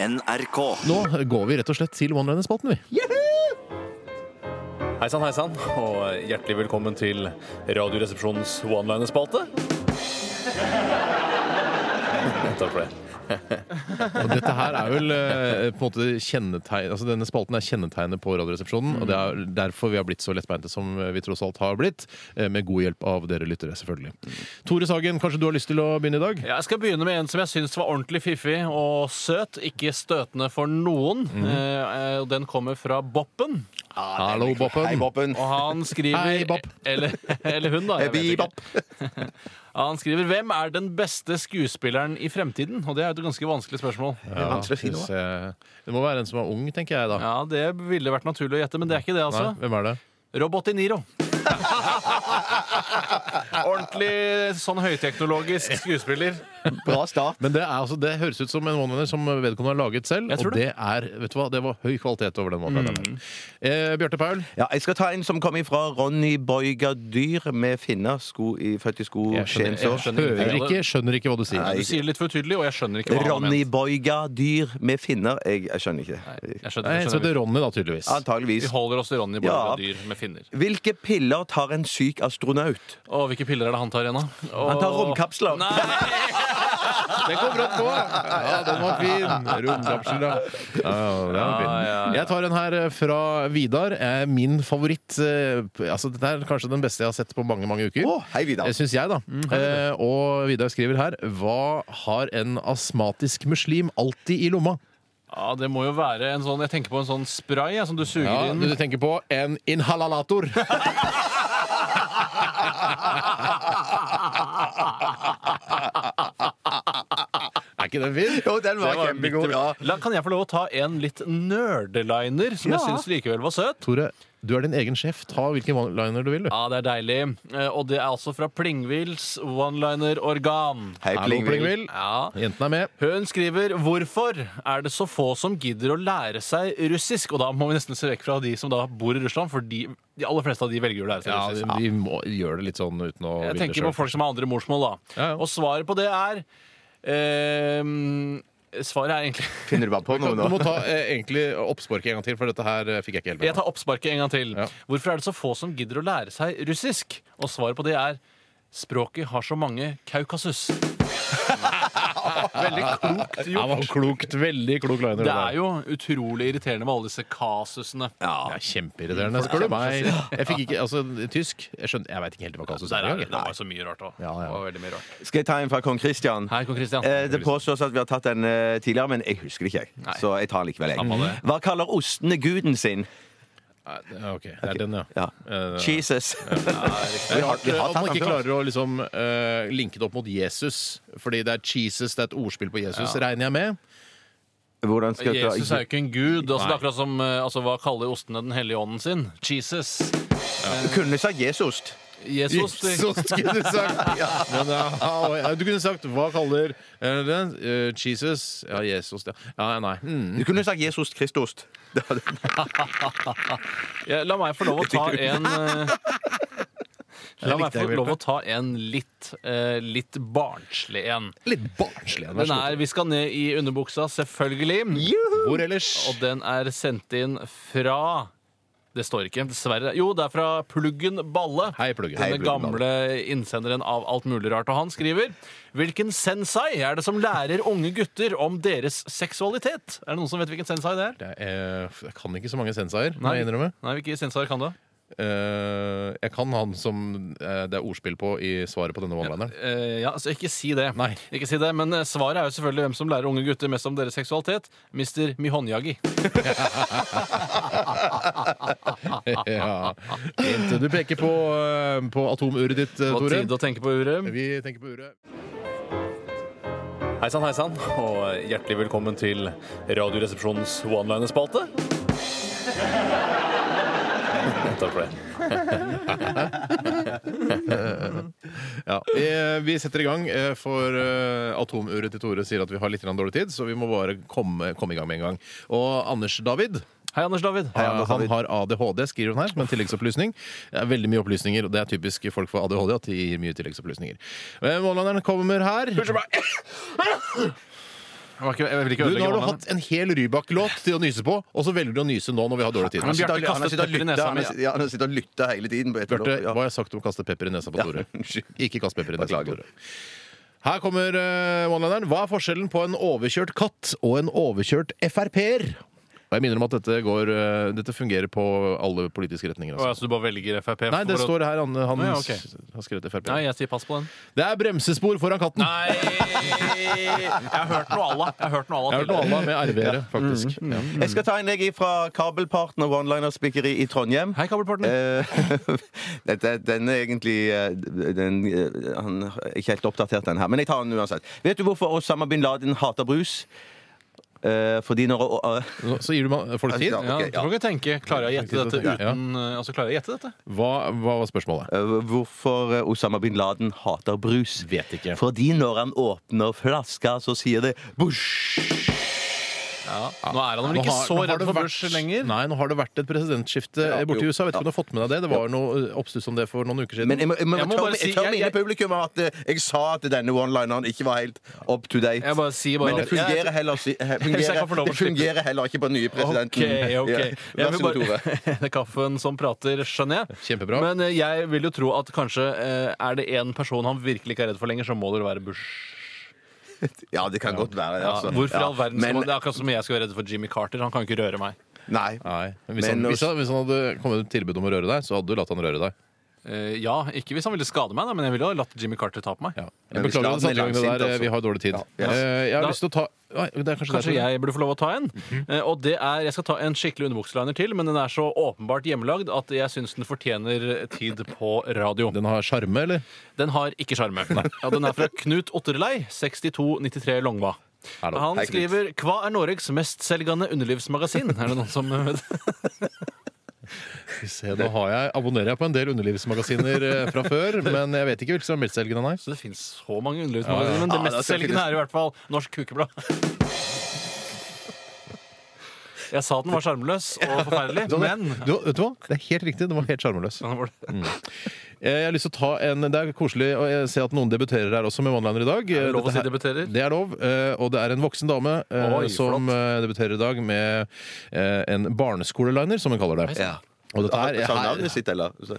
NRK. Nå går vi rett og slett til one-liner-spalten, vi. Hei sann, hei sann, og hjertelig velkommen til Radioresepsjonens one-liner-spalte. Takk for det. Og dette her er vel eh, på en måte kjennetegn Altså Denne spalten er kjennetegnet på Radioresepsjonen, og det er derfor vi har blitt så lettbeinte som vi tross alt har blitt. eh, Med god hjelp av dere lyttere, selvfølgelig. Tore Sagen, kanskje du har lyst til å begynne i dag? Ja, Jeg skal begynne med en som jeg syns var ordentlig fiffig og søt. Ikke støtende for noen. Mhm. Eh, og den kommer fra Boppen. Hallo, Hei, Boppen. Boppen. Og han skriver Hei, Bopp. Eller, eller hun, da. Jeg vet Hei, ikke. Han skriver 'Hvem er den beste skuespilleren i fremtiden?' Og det er et ganske vanskelig spørsmål. Ja, Vanskelig å finne, synes jeg- det må være en som er ung, tenker jeg da. Ja, Det ville vært naturlig å gjette, men det er ikke det, altså. Nei, hvem er det? Robot i Niro. Ordentlig sånn høyteknologisk skuespiller. Bra start. Men det, er, altså, det høres ut som en one-liner som vedkommende har laget selv. Jeg tror Og det er, vet du hva, det var høy kvalitet over den one-lineren. Eh, Bjarte Paul, Ja, jeg skal ta en som kom ifra Ronny Boiga Dyr med finner. Sko i, født i sko, Jeg skjønner- Skiens år. jeg skjønner hører ingenting av ikke, skjønner ikke hva du sier. Nei. Du sier det litt for utydelig, og jeg skjønner ikke hva han har Ronny ment. Boiga Dyr med finner. Jeg, jeg skjønner ikke det. Jeg skjønner, Nei, så jeg det skjønner. er Eh, Ronny, da, tydeligvis. Vi Antageligvis. holder oss til Ronny bare Ja. fra dyr med finner. Hvilke piller tar en syk astronaut? Og hvilke piller er det han tar igjen, da? Han tar romkapsler. Nei! Den kom brått på! Ja, den var fin. Romkapsel, ja. Ah, ja. den var fin. Ja, ja, ja. Jeg tar en her eh, fra Vidar. Eh, Min favoritt eh, p- altså, Dette er kanskje den beste jeg har sett på mange mange uker. Å, hei, Vidar. Eh, Syns jeg, da. Eh, og Vidar skriver her Hva har en astmatisk muslim alltid i lomma? Ja, det må jo være en sånn Jeg tenker på en sånn spray jeg, som du suger Ja, inn. du tenker på en inhalator. er ikke den fin? Jo, den var, Det var kjempegod. Ja. La, kan jeg få lov å ta en litt nerdeliner, som jeg syns likevel var søt? Tore, du er din egen sjef. Ta hvilken one-liner du vil. du. Ja, det er deilig. Eh, Og det er altså fra Plingvils one-liner-organ. Hei, Hallo, Plingvild. Plingvill. Ja. Jentene er med. Hun skriver 'Hvorfor er det så få som gidder å lære seg russisk?' Og da må vi nesten se vekk fra de som da bor i Russland, for de, de aller fleste av de velger å lære seg Ja, russisk. de, de må gjøre det litt sånn uten å Jeg ville tenker på selv. folk som har andre morsmål, da. Ja, ja. Og svaret på det er ehm, Svaret er egentlig Finner du bare på noe Du må nå? ta eh, egentlig oppsparket en gang til, for dette her eh, fikk jeg ikke helt Jeg med. tar oppsparket en gang til. Ja. Hvorfor er det så få som gidder å lære seg russisk? Og svaret på det er Språket har så mange Kaukasus. Veldig klokt Ja, det gjort. var klokt, Veldig klok liner. Det er jo utrolig irriterende med alle disse kasusene. det er kjempeirriterende, spør du meg. Jeg fikk ikke, altså, Tysk Jeg skjønner, jeg veit ikke helt hva kasus Der er. er det, jeg. det var jo så mye rart òg. Ja, ja. Skal jeg ta en fra kong Christian? Hei, Kong Christian. Eh, Det påstås at vi har tatt den eh, tidligere, men jeg husker det ikke. jeg. Så jeg tar den likevel. Samme Jeg. det. Hva kaller ostene guden sin? Nei, det- ja, ok, det er den, ja. Ja. Eh, Jesus. Det er rart Vi har at tatt man ikke den før. klarer å liksom, eh, linke det opp mot Jesus. Fordi det er Jesus, det er et ordspill på Jesus, regner jeg med. Hvordan skal jeg Jesus er klare jo ikke en gud. Nei. Altså, det er akkurat som eh, altså, Hva kaller ostene den hellige ånden sin? Jesus. Kunne sagt Jesost. Jesus. Jesus, skulle du sagt. Men, ja, ja, du kunne sagt hva kaller eh, den? Eh, Jesus? Ja, Jesus, ja. ja nei. Hmm. Du kunne sagt Jesost Kristost. Det hadde- Ja, la meg få lov å ta en eh, La meg likte få jeg, lov å Bjarte. ta en litt, eh, litt barnslig en. Litt barnslig. vær Den så god. er Vi skal ned i underbuksa, selvfølgelig. Hvor ellers? Og den er sendt inn fra Det står ikke, dessverre. Jo, det er fra Pluggen Balle. Hei, Pluggen. Hei, Den Pluggen Balle. gamle innsenderen av alt mulig rart. Og han skriver Hvilken sensei er det som lærer unge gutter om deres seksualitet? Er det noen som vet hvilken sensei det er? Det er, eh, jeg kan ikke så mange sensaier, må Nei. jeg innrømme. Nei, hvilken sensei kan du? Eh, jeg kan han som eh, det er ordspill på i svaret på denne one-lineren. Eh, ja, altså ikke si det. Nei. Ikke si det, Men eh, svaret er jo selvfølgelig hvem som lærer unge gutter mest om deres seksualitet. Mr. Mihonjagi. ja. Fint. Du peker på, eh, på atomuret ditt, eh, På Tore. tide å tenke på uret. Vi tenker på uret. Hei sann, hei sann, og hjertelig velkommen til Radioresepsjonens one-liner-spalte. Takk for det. Ja. Vi, vi setter i gang, eh, for eh, atomuret til Tore sier at vi har litt grann dårlig tid, så vi må bare komme, komme i gang med en gang. Og Anders David Hei, Anders David. eh, han har ADHD, skriver hun her, som en tilleggsopplysning. Det er veldig mye opplysninger, og det er typisk folk for ADHD at de gir mye tilleggsopplysninger. Eh, Mållanderen kommer her. Jeg var ikke- jeg vil Du, ikke nå har ødelegge du vannet. hatt en hel Rybak-låt til å nyse på, og så velger du å nyse nå når vi har dårlig tid. Men Bjarte sitter- kastet sitter og pepper i lytter- nesa mi, han sitter- ja, han sitter og lytter hele tiden. på et Bjarte, eller annet, ja. hva har jeg sagt om å kaste pepper i nesa på Tore? unnskyld. Ikke kast pepper i nesa på Beklager. Tore. Her kommer uh, one-lineren. Hva er forskjellen på en overkjørt katt og en overkjørt Frp-er? Og jeg minner om at dette, går, eh, dette fungerer på alle politiske retninger. Å, ja, Altså. så du bare velger Frp? Nei, det for å- står her. Han, han Å, ja, ok. har skrevet Frp. Nei, jeg sier pass på den. Det er bremsespor foran katten. Nei Jeg har hørt noe Allah. Jeg har hørt noe Jeg har hørt Allah noe annet med RV-ere, faktisk. Mm, Ja. Jeg skal ta en jeg fra Kabelpartner one-liner-spikkeri i Trondheim. Hei, kabelpartner. Eh, Dette, den er egentlig eh, den, eh, Han er ikke helt oppdatert, den her. Men jeg tar den uansett. Vet du hvorfor Osama bin Laden hater brus? Eh, fordi når eh, Så- Så gir du man- folk tid. Ja. Ja, ok, du kan ikke tenke Klarer jeg å gjette dette uten eh, Altså, klarer jeg å gjette dette? Hva, hva var spørsmålet? eh, Hvorfor Osama bin Laden hater brus? Vet ikke. Fordi når han åpner flaska, så sier det bush! Nå er han vel Nå ikke har- så nå har redd det for vært- Bush lenger. Nei, nå har det vært et presidentskifte eh, borte i jo. USA. Vet ikke om du har fått med deg det? Det var noe eh, oppstuss om det for noen uker siden. Men jeg må, jeg må, Jeg må tør- bare si- jeg tør jeg- minne jeg- publikum om at eh, jeg sa at denne one-lineren ikke var helt up to date. Jeg bare sier bare Men det at- Jeg- fungerer heller, si- he- fungerer, kan få lov å det fungerer heller ikke på den nye presidenten. Ok, Ja. ok. Jeg Vær så vil god, Tore. bare- Det er kaffen som prater, skjønner jeg. Kjempebra. Men eh, jeg vil jo tro at kanskje eh, er det én person han virkelig ikke er redd for lenger, så må det være Bush. Ja, det kan godt være. Ja, Altså. hvorfor i Ja, all verden skal men- man, Det er akkurat som jeg skal være redd for Jimmy Carter. Han kan jo ikke røre meg. Nei. Nei, men hvis, Men han, når- hvis, han, hvis han hadde kommet med tilbud om å røre deg, så hadde du latt han røre deg. Eh, ja, ikke hvis han ville skade meg, da, men jeg ville jo ha latt Jimmy Carter ta på meg. Ja. Men Jeg hvis beklager Laden den satte er i gang det langsint, der. eh, altså. Vi har dårlig tid. Ja. Ja. Eh, Jeg har Da- lyst til å ta Nei, det er kanskje, Kanskje derfor- jeg burde få lov å ta en. Mhm. Eh, Og det er, Jeg skal ta en skikkelig underbukseliner til, men den er så åpenbart hjemmelagd at jeg syns den fortjener tid på radio. Den har sjarme, eller? Den har ikke sjarme. Ja, den er fra Knut Otterlei, 6293 Longva. Hallo. Han Hei, Knut. skriver 'Hva er Norges mestselgende underlivsmagasin?' Er det noen som vet? Skal vi Se, nå har jeg, abonnerer jeg på en del underlivsmagasiner eh, fra før, men jeg vet ikke hvilke som er meltselgende, nei. Så det fins så mange underlivsmagasiner, men Ja, det det skal mestselgende finnes. er i hvert fall Norsk Kukeblad. Jeg sa den var sjarmløs og forferdelig, men Du, vet du hva? Det er helt riktig. Den var helt sjarmløs. Den var Mm. det. Eh, Jeg har lyst til å ta en, Det er koselig å eh, se at noen debuterer her også med one-liner i dag. Er det lov å Dette si her- debuterer? Det er lov. eh, Og det er en voksen dame eh, Oi, som flott. eh, debuterer i dag med eh, en barneskoleliner, som hun kaller det. Ja. Og dette her, Hm? Sa hun her- navnet sitt, eller? Så-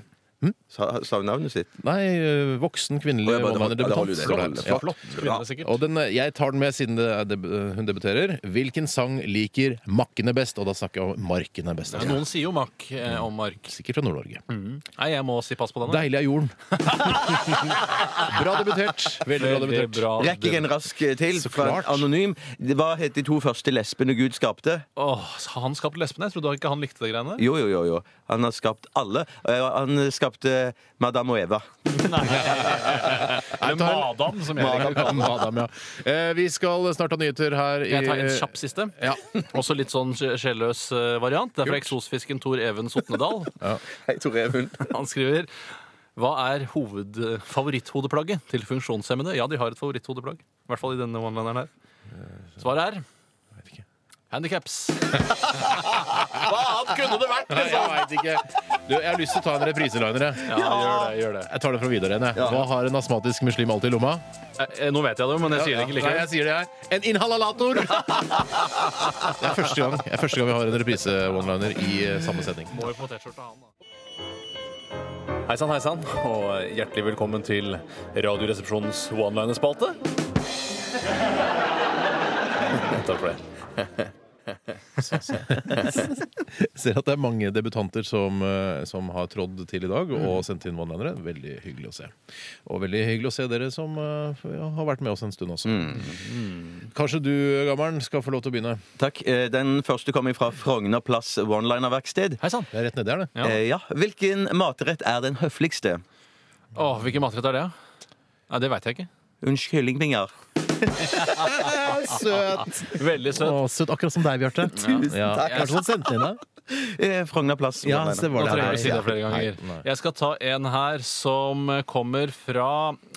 Sa- Sa hun navnet sitt? Nei, eh, voksen Å, kvinnelig ja, bare- ja, det holder jo one-liner-debutant. det, står det det her. holder det. Ja. Flott. Kvinner, sikkert. Og den, eh, jeg tar den med siden det er deb eh, hun debuterer. Hvilken sang liker makkene best? Og da snakker jeg om markene best. Altså, Ja, Noen sier jo Mack eh, om Mark. Sikkert fra Nord-Norge. Nei, jeg må si pass på den. da. Deilig er jorden. bra debutert. Veldig bra Veldig debutert. bra. Rekker jeg en rask eh, til? Så Fra en klart. anonym. Det- Hva het de to første lesbene Gud skapte? Åh, han skapte lesbene. Jeg trodde ikke han likte det greiene der. Jo, jo, jo. jo. Han har skapt alle. Eh, Han skapte Madame og Eva. Jeg Eller tar- Madam, som jeg liker å kalle det. Madam, ja. Eh, Vi skal snart ha nyheter her i Jeg tar en kjapp siste. Ja. Også litt sånn sj- sjelløs eh, variant. Det er fra eksosfisken Tor Even Sotnedal. Hei, Tor Even. Han skriver Hva er hoved, favoritthodeplagget til funksjonshemmede? Ja, de har et favoritthodeplagg. I hvert fall i denne one-lineren her. Svaret er Handikaps. Hva annet kunne det vært? Nei, jeg veit ikke. Du, jeg har lyst til å ta en repriseliner. jeg. Ja, gjør det, gjør det. Jeg tar det fra Vidar igjen. jeg. Hva har en astmatisk muslim alltid i lomma? Eh, eh, Nå vet jeg det jo, men jeg sier det ikke Nei, likevel. jeg sier det her. En inhalator! Det er første gang, det er første gang vi har en reprise-one-liner i eh, samme sending. Må jo på T-skjorta han, da. Hei sann, hei sann, og hjertelig velkommen til Radioresepsjonens one-liner-spalte. Takk for det. Ser at det er mange debutanter som, eh, som har trådd til i dag Mm. og sendt inn one-linere. Veldig hyggelig å se. Og veldig hyggelig å se dere som eh, ja, har vært med oss en stund også. Mm. Kanskje du, Gammelen, skal få lov til å begynne. Takk. Eh, Den første kommer fra Frogner plass one-liner-verksted. Hei sann. Det er rett nedi her, det. Ja. Eh, ja. Hvilken matrett er den høfligste? Åh, Hvilken matrett er det? da? Nei, Det veit jeg ikke. Unnskyld, kyllingvinger. Søt! Veldig søt. søt. Akkurat som deg, Bjarte. Tusen takk. Kanskje hun sendte inn deg? Eh, Frogner plass. Ja, one-liner. så det var Nå det her. trenger du å si det flere ganger. Nei, nei. Jeg skal ta en her som kommer fra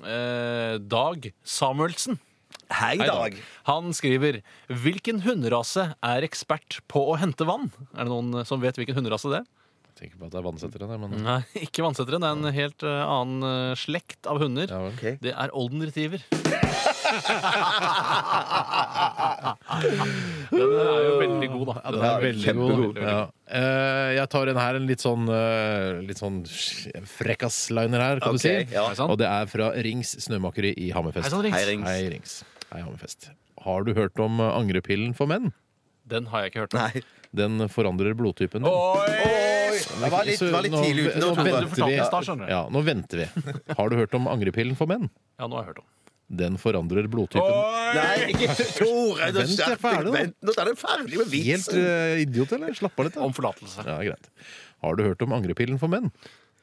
eh, Dag Samuelsen. Hei, Dag. Han skriver Hvilken hunderase er ekspert på å hente vann? Er det noen eh, som vet hvilken hunderase det er? Tenker på at det er vannsettere, det, men Nei, ikke vannsetteren. Det er en helt eh, annen eh, slekt av hunder. ja vel. Ok. Det er Olden Retriever. Den er jo veldig god, da. Ja, den er veldig kjempegod. god. Ja. Eh, jeg tar en her, en litt sånn, eh, litt sånn frekkasliner her, kan Ok, du si. ja. Hei sann. Og det er fra Rings Snømakeri i Hammerfest. Hei sann, Rings. Hei, Rings. Hei, Rings. Hei, Hammerfest. Har du hørt om eh, angrepillen for menn? Den har jeg ikke hørt om. Nei. Den forandrer blodtypen din. Oi! Jeg var litt, Så var litt nå- tidlig ute. nå nå, Men Tore. du fortalte vi- det i stad, skjønner du. Ja, nå venter vi. Har du hørt om angrepillen for menn? Ja, nå har jeg hørt om Den forandrer blodtypen. Nei, ikke Tore! nå Vent, jeg er skjerp deg. ferdig, da. Vent, Nå er den ferdig med Helt vitsen! eh, idiot, eller? Slapp av litt, da. Om forlatelse. Ja, greit. Har du hørt om angrepillen for menn?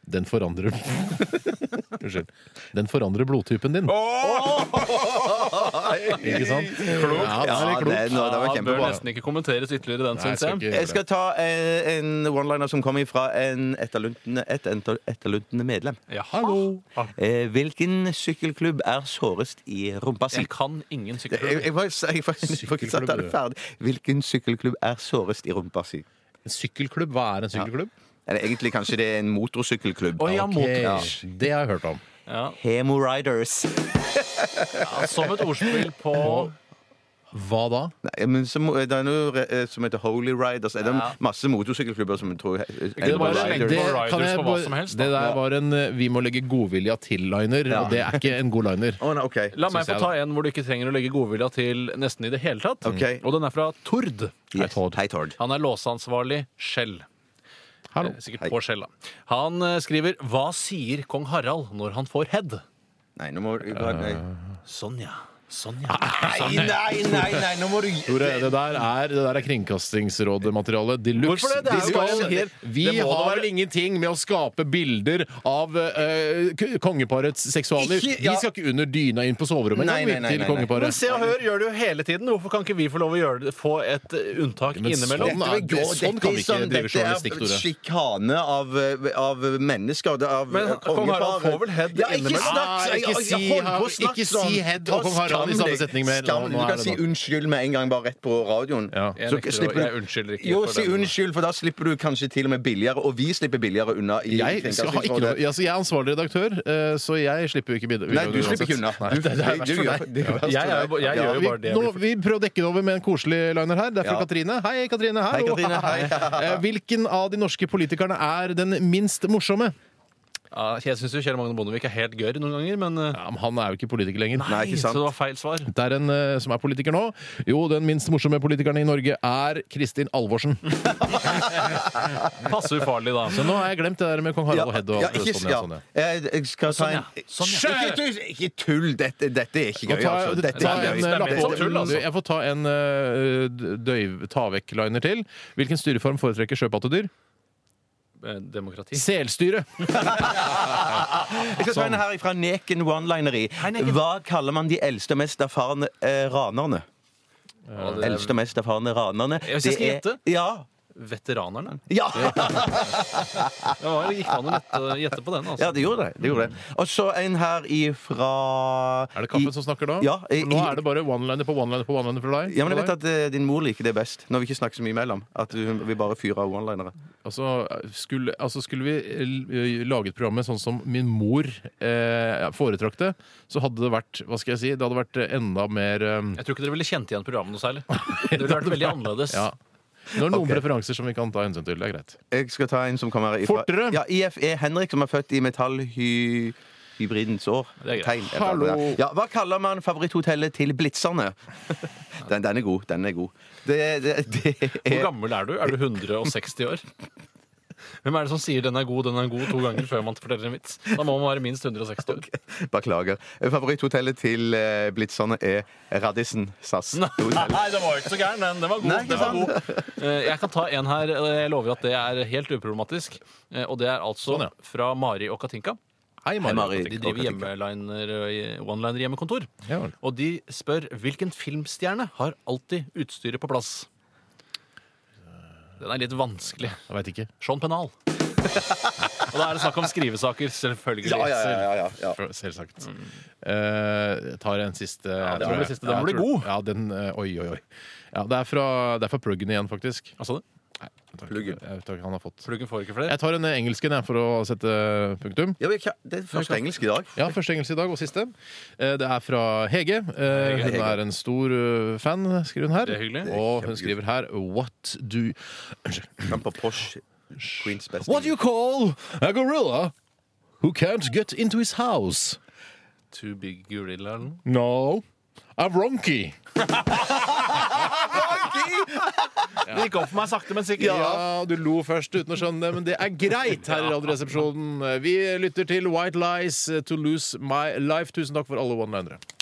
Den forandrer Unnskyld. Den forandrer blodtypen din. Ikke sant? Klokt. Ja, det Ja, er litt klokt. det, nå, det var Ja, bør kjempebra. nesten ikke kommenteres ytterligere, den, Nei, jeg syns skal jeg. ikke Jeg gjøre det. skal ta eh, en one-liner som kommer fra en etterluntende, et enter- etterluntende medlem. Ja. Hallo. Eh, hvilken sykkelklubb er sårest i rumpa si? Jeg kan ingen Jeg, jeg, sykkelklubb. jeg, jeg, jeg, jeg, får ikke sagt det ferdig. Hvilken sykkelklubb er sårest i rumpa si? En sykkelklubb? Hva er en sykkelklubb? Eller egentlig kanskje det er en motorsykkelklubb. Å ja, Ok, motor. Det har jeg hørt om. Ja. Hemo Riders. Ja, som et ordspill på Hva da? Nei, men så, må- det er noe eh, som heter Holy Riders. Er det Ja. masse motorsykkelklubber som tror det bare slenge Riders. det- Riders kan jeg på hva bare- som helst, da. det der var en eh, 'vi må legge godvilja til'-liner, og det er ikke en god liner. Å, nei, ok. La meg Syns få jeg, ta en hvor du ikke trenger å legge godvilja til nesten i det hele tatt. Ok. Og den er fra Tord. Yes. Hei, Tord. Han er låseansvarlig Skjell. Hallo. Eh, Sikkert på Skjell, da. Han eh, skriver 'Hva sier kong Harald når han får head?' Nei, nå må du nei. Sånn, ja. Sånn, ja. Nei, nei, nei, nei, nå må du Tore, det der er, det der er Kringkastingsrådet-materiale de luxe. Hvorfor det? Det er jo bare en hel- Vi Det må det har være. vel ingenting med å skape bilder av eh, k- kongeparets seksualliv. Ikke- ja. Vi skal ikke under dyna inn på soverommet Nei, engang, nei, nei, vi, til nei, nei. Men kongeparet. Se og Hør gjør det jo hele tiden. Hvorfor kan ikke vi få lov å gjøre det, få et eh, unntak Men innimellom? sånn er det. Sånn kan vi ikke drive journalistikk, Dette Tore. er sjikane av, av mennesker. Det er av Men av kong Harald får vel head ja, ikke innimellom? snakk! Ah, jeg- ikke jeg- si- jeg holder på å snakke ikke si sånn. head Ta og kong Harald i skam samme deg. setning mer. Skam, Nå- du nå er kan det si nok. unnskyld med en gang, bare rett på radioen. Ja. Jeg Så nekter å- slipper du- jeg unnskylder ikke Jo, for si den. unnskyld, for da slipper du kanskje til og med billigere, og vi slipper billigere unna. i Jeg, skal ha ikke noe, Kringkastingsrådet. altså jeg er ansvarlig redaktør, eh, så jeg slipper jo ikke bidra. Nei, du slipper ikke unna. Du- det er du- du gjør- det er verst Jeg er for jo- jeg deg. gjør jo Ja, bare vi, det jeg nå, blir vi prøver å dekke det over med en koselig liner her. Det er Ja. fra Katrine. Hei, Katrine. Hallo. Hei, Katrine, hei. Eh, Hvilken av de norske politikerne er den minst morsomme? Ja, jeg syns jo Kjell Magne Bondevik er helt gørr noen ganger, men eh, Ja, men han er jo ikke politiker lenger. Nei, ikke sant. Så det var feil svar. Det er en eh, som er politiker nå. Jo, den minst morsomme politikeren i Norge er Kristin Alvorsen. Passe ufarlig, da. Så nå har jeg glemt det der med kong Harald og Head og ja, ikke, sånn, ja, ja. sånn, ja. Jeg, jeg skal ta Sånn, ja. en Sånn, Ikke tull! Ikke tull. Dette, dette er ikke Nå gøy, tar altså. jeg- Dette ta er ikke en, gøy. eh, Stemmer lapp- på og- tull, altså. du, Jeg får ta en eh, døyv, ta vekk liner til. Hvilken styreform foretrekker sjøpattedyr? Eh, Demokrati. Selstyre. Jeg skal ta en her fra Neken One-lineri. Hva kaller man de eldste og mest erfarne eh, ranerne? Ja, det er Eldste og mest erfarne ranerne. Hvis jeg det skal er- gjette? Ja. Veteranerne. Ja. Det var, gikk an å gjette- gjette på den, altså. ja, det gjorde det. det, gjorde det. Og så en her ifra Er det kaffen i- som snakker nå? Ja, i- nå er det bare one-liner på one-liner på one-liner fra deg. ja, men jeg vet at eh, din mor liker det best, når vi ikke snakker så mye imellom. At hun vil bare fyre av one-linere. Altså, skulle, altså, skulle vi eh, laget programmet sånn som min mor eh, foretrakk det, så hadde det vært hva skal jeg si, det hadde vært enda mer eh, Jeg tror ikke dere ville kjent igjen programmet noe særlig. Det ville vært veldig annerledes. ja. Nå er det noen Ok. preferanser som vi kan ta hensyn til. Det er greit. Jeg skal ta en som kommer ifra Fortere! Ja, IFE Henrik, som er født i metallhy... Hybridens år. Det er greit. Tegn. etter Hallo. det. Ja, hva kaller man favoritthotellet til Blitzerne? Den, den er god. Den er god. Det, det, det Hvor er gammel er du? Er du 160 år? Hvem er det som sier 'den er god, den er god' to ganger før man forteller en vits? Da må man være minst 160 år. Beklager. Favoritthotellet til eh, Blitzerne er Radisson SAS. Hotell. den var jo ikke så gæren, den. Den var god. Nei, ikke den var god. Eh, Jeg kan ta en her, og jeg lover at det er helt uproblematisk. Eh, Og det er altså Sånn, ja. fra Mari og Katinka. Hei, Mari. Mari. De driver og Katinka. hjemmeliner one-liner hjemmekontor. Ja vel. Og de spør hvilken filmstjerne har alltid utstyret på plass. Den er litt vanskelig. Jeg veit ikke. Sean Penal. Og da er det snakk om skrivesaker, selvfølgelig. Ja, ja, ja, ja, ja. For- Selvsagt. Eh, jeg tar en siste. Mm. det tror må bli jeg. siste. Den Ja, blir tror- Ja, den, eh, oi, oi, oi. Ja, det er fra, det er fra pluggen igjen, faktisk. Altså det? Nei, Takk. Pluggen. Jeg vet ikke, han har fått. Pluggen får ikke flere. Jeg tar en eh, engelsken jeg, for å sette eh, punktum. Ja, men jeg kan- det er første engelsk i dag. Ja, første engelsk i dag og siste. Eh, Det er fra Hege. Eh, Hun er en stor eh, fan, skriver hun her. Det er hyggelig. Og hun skriver her What do Han på Porsche Queens best. What do you call a gorilla who can't get into his house? Too big gorilla eller noe. No. A wronky. Det gikk opp for meg sakte, men sikkert. Ja, du lo først uten å skjønne det, men det er greit her i Radioresepsjonen. Vi lytter til White Lies, To Lose My Life. Tusen takk for alle one-linere.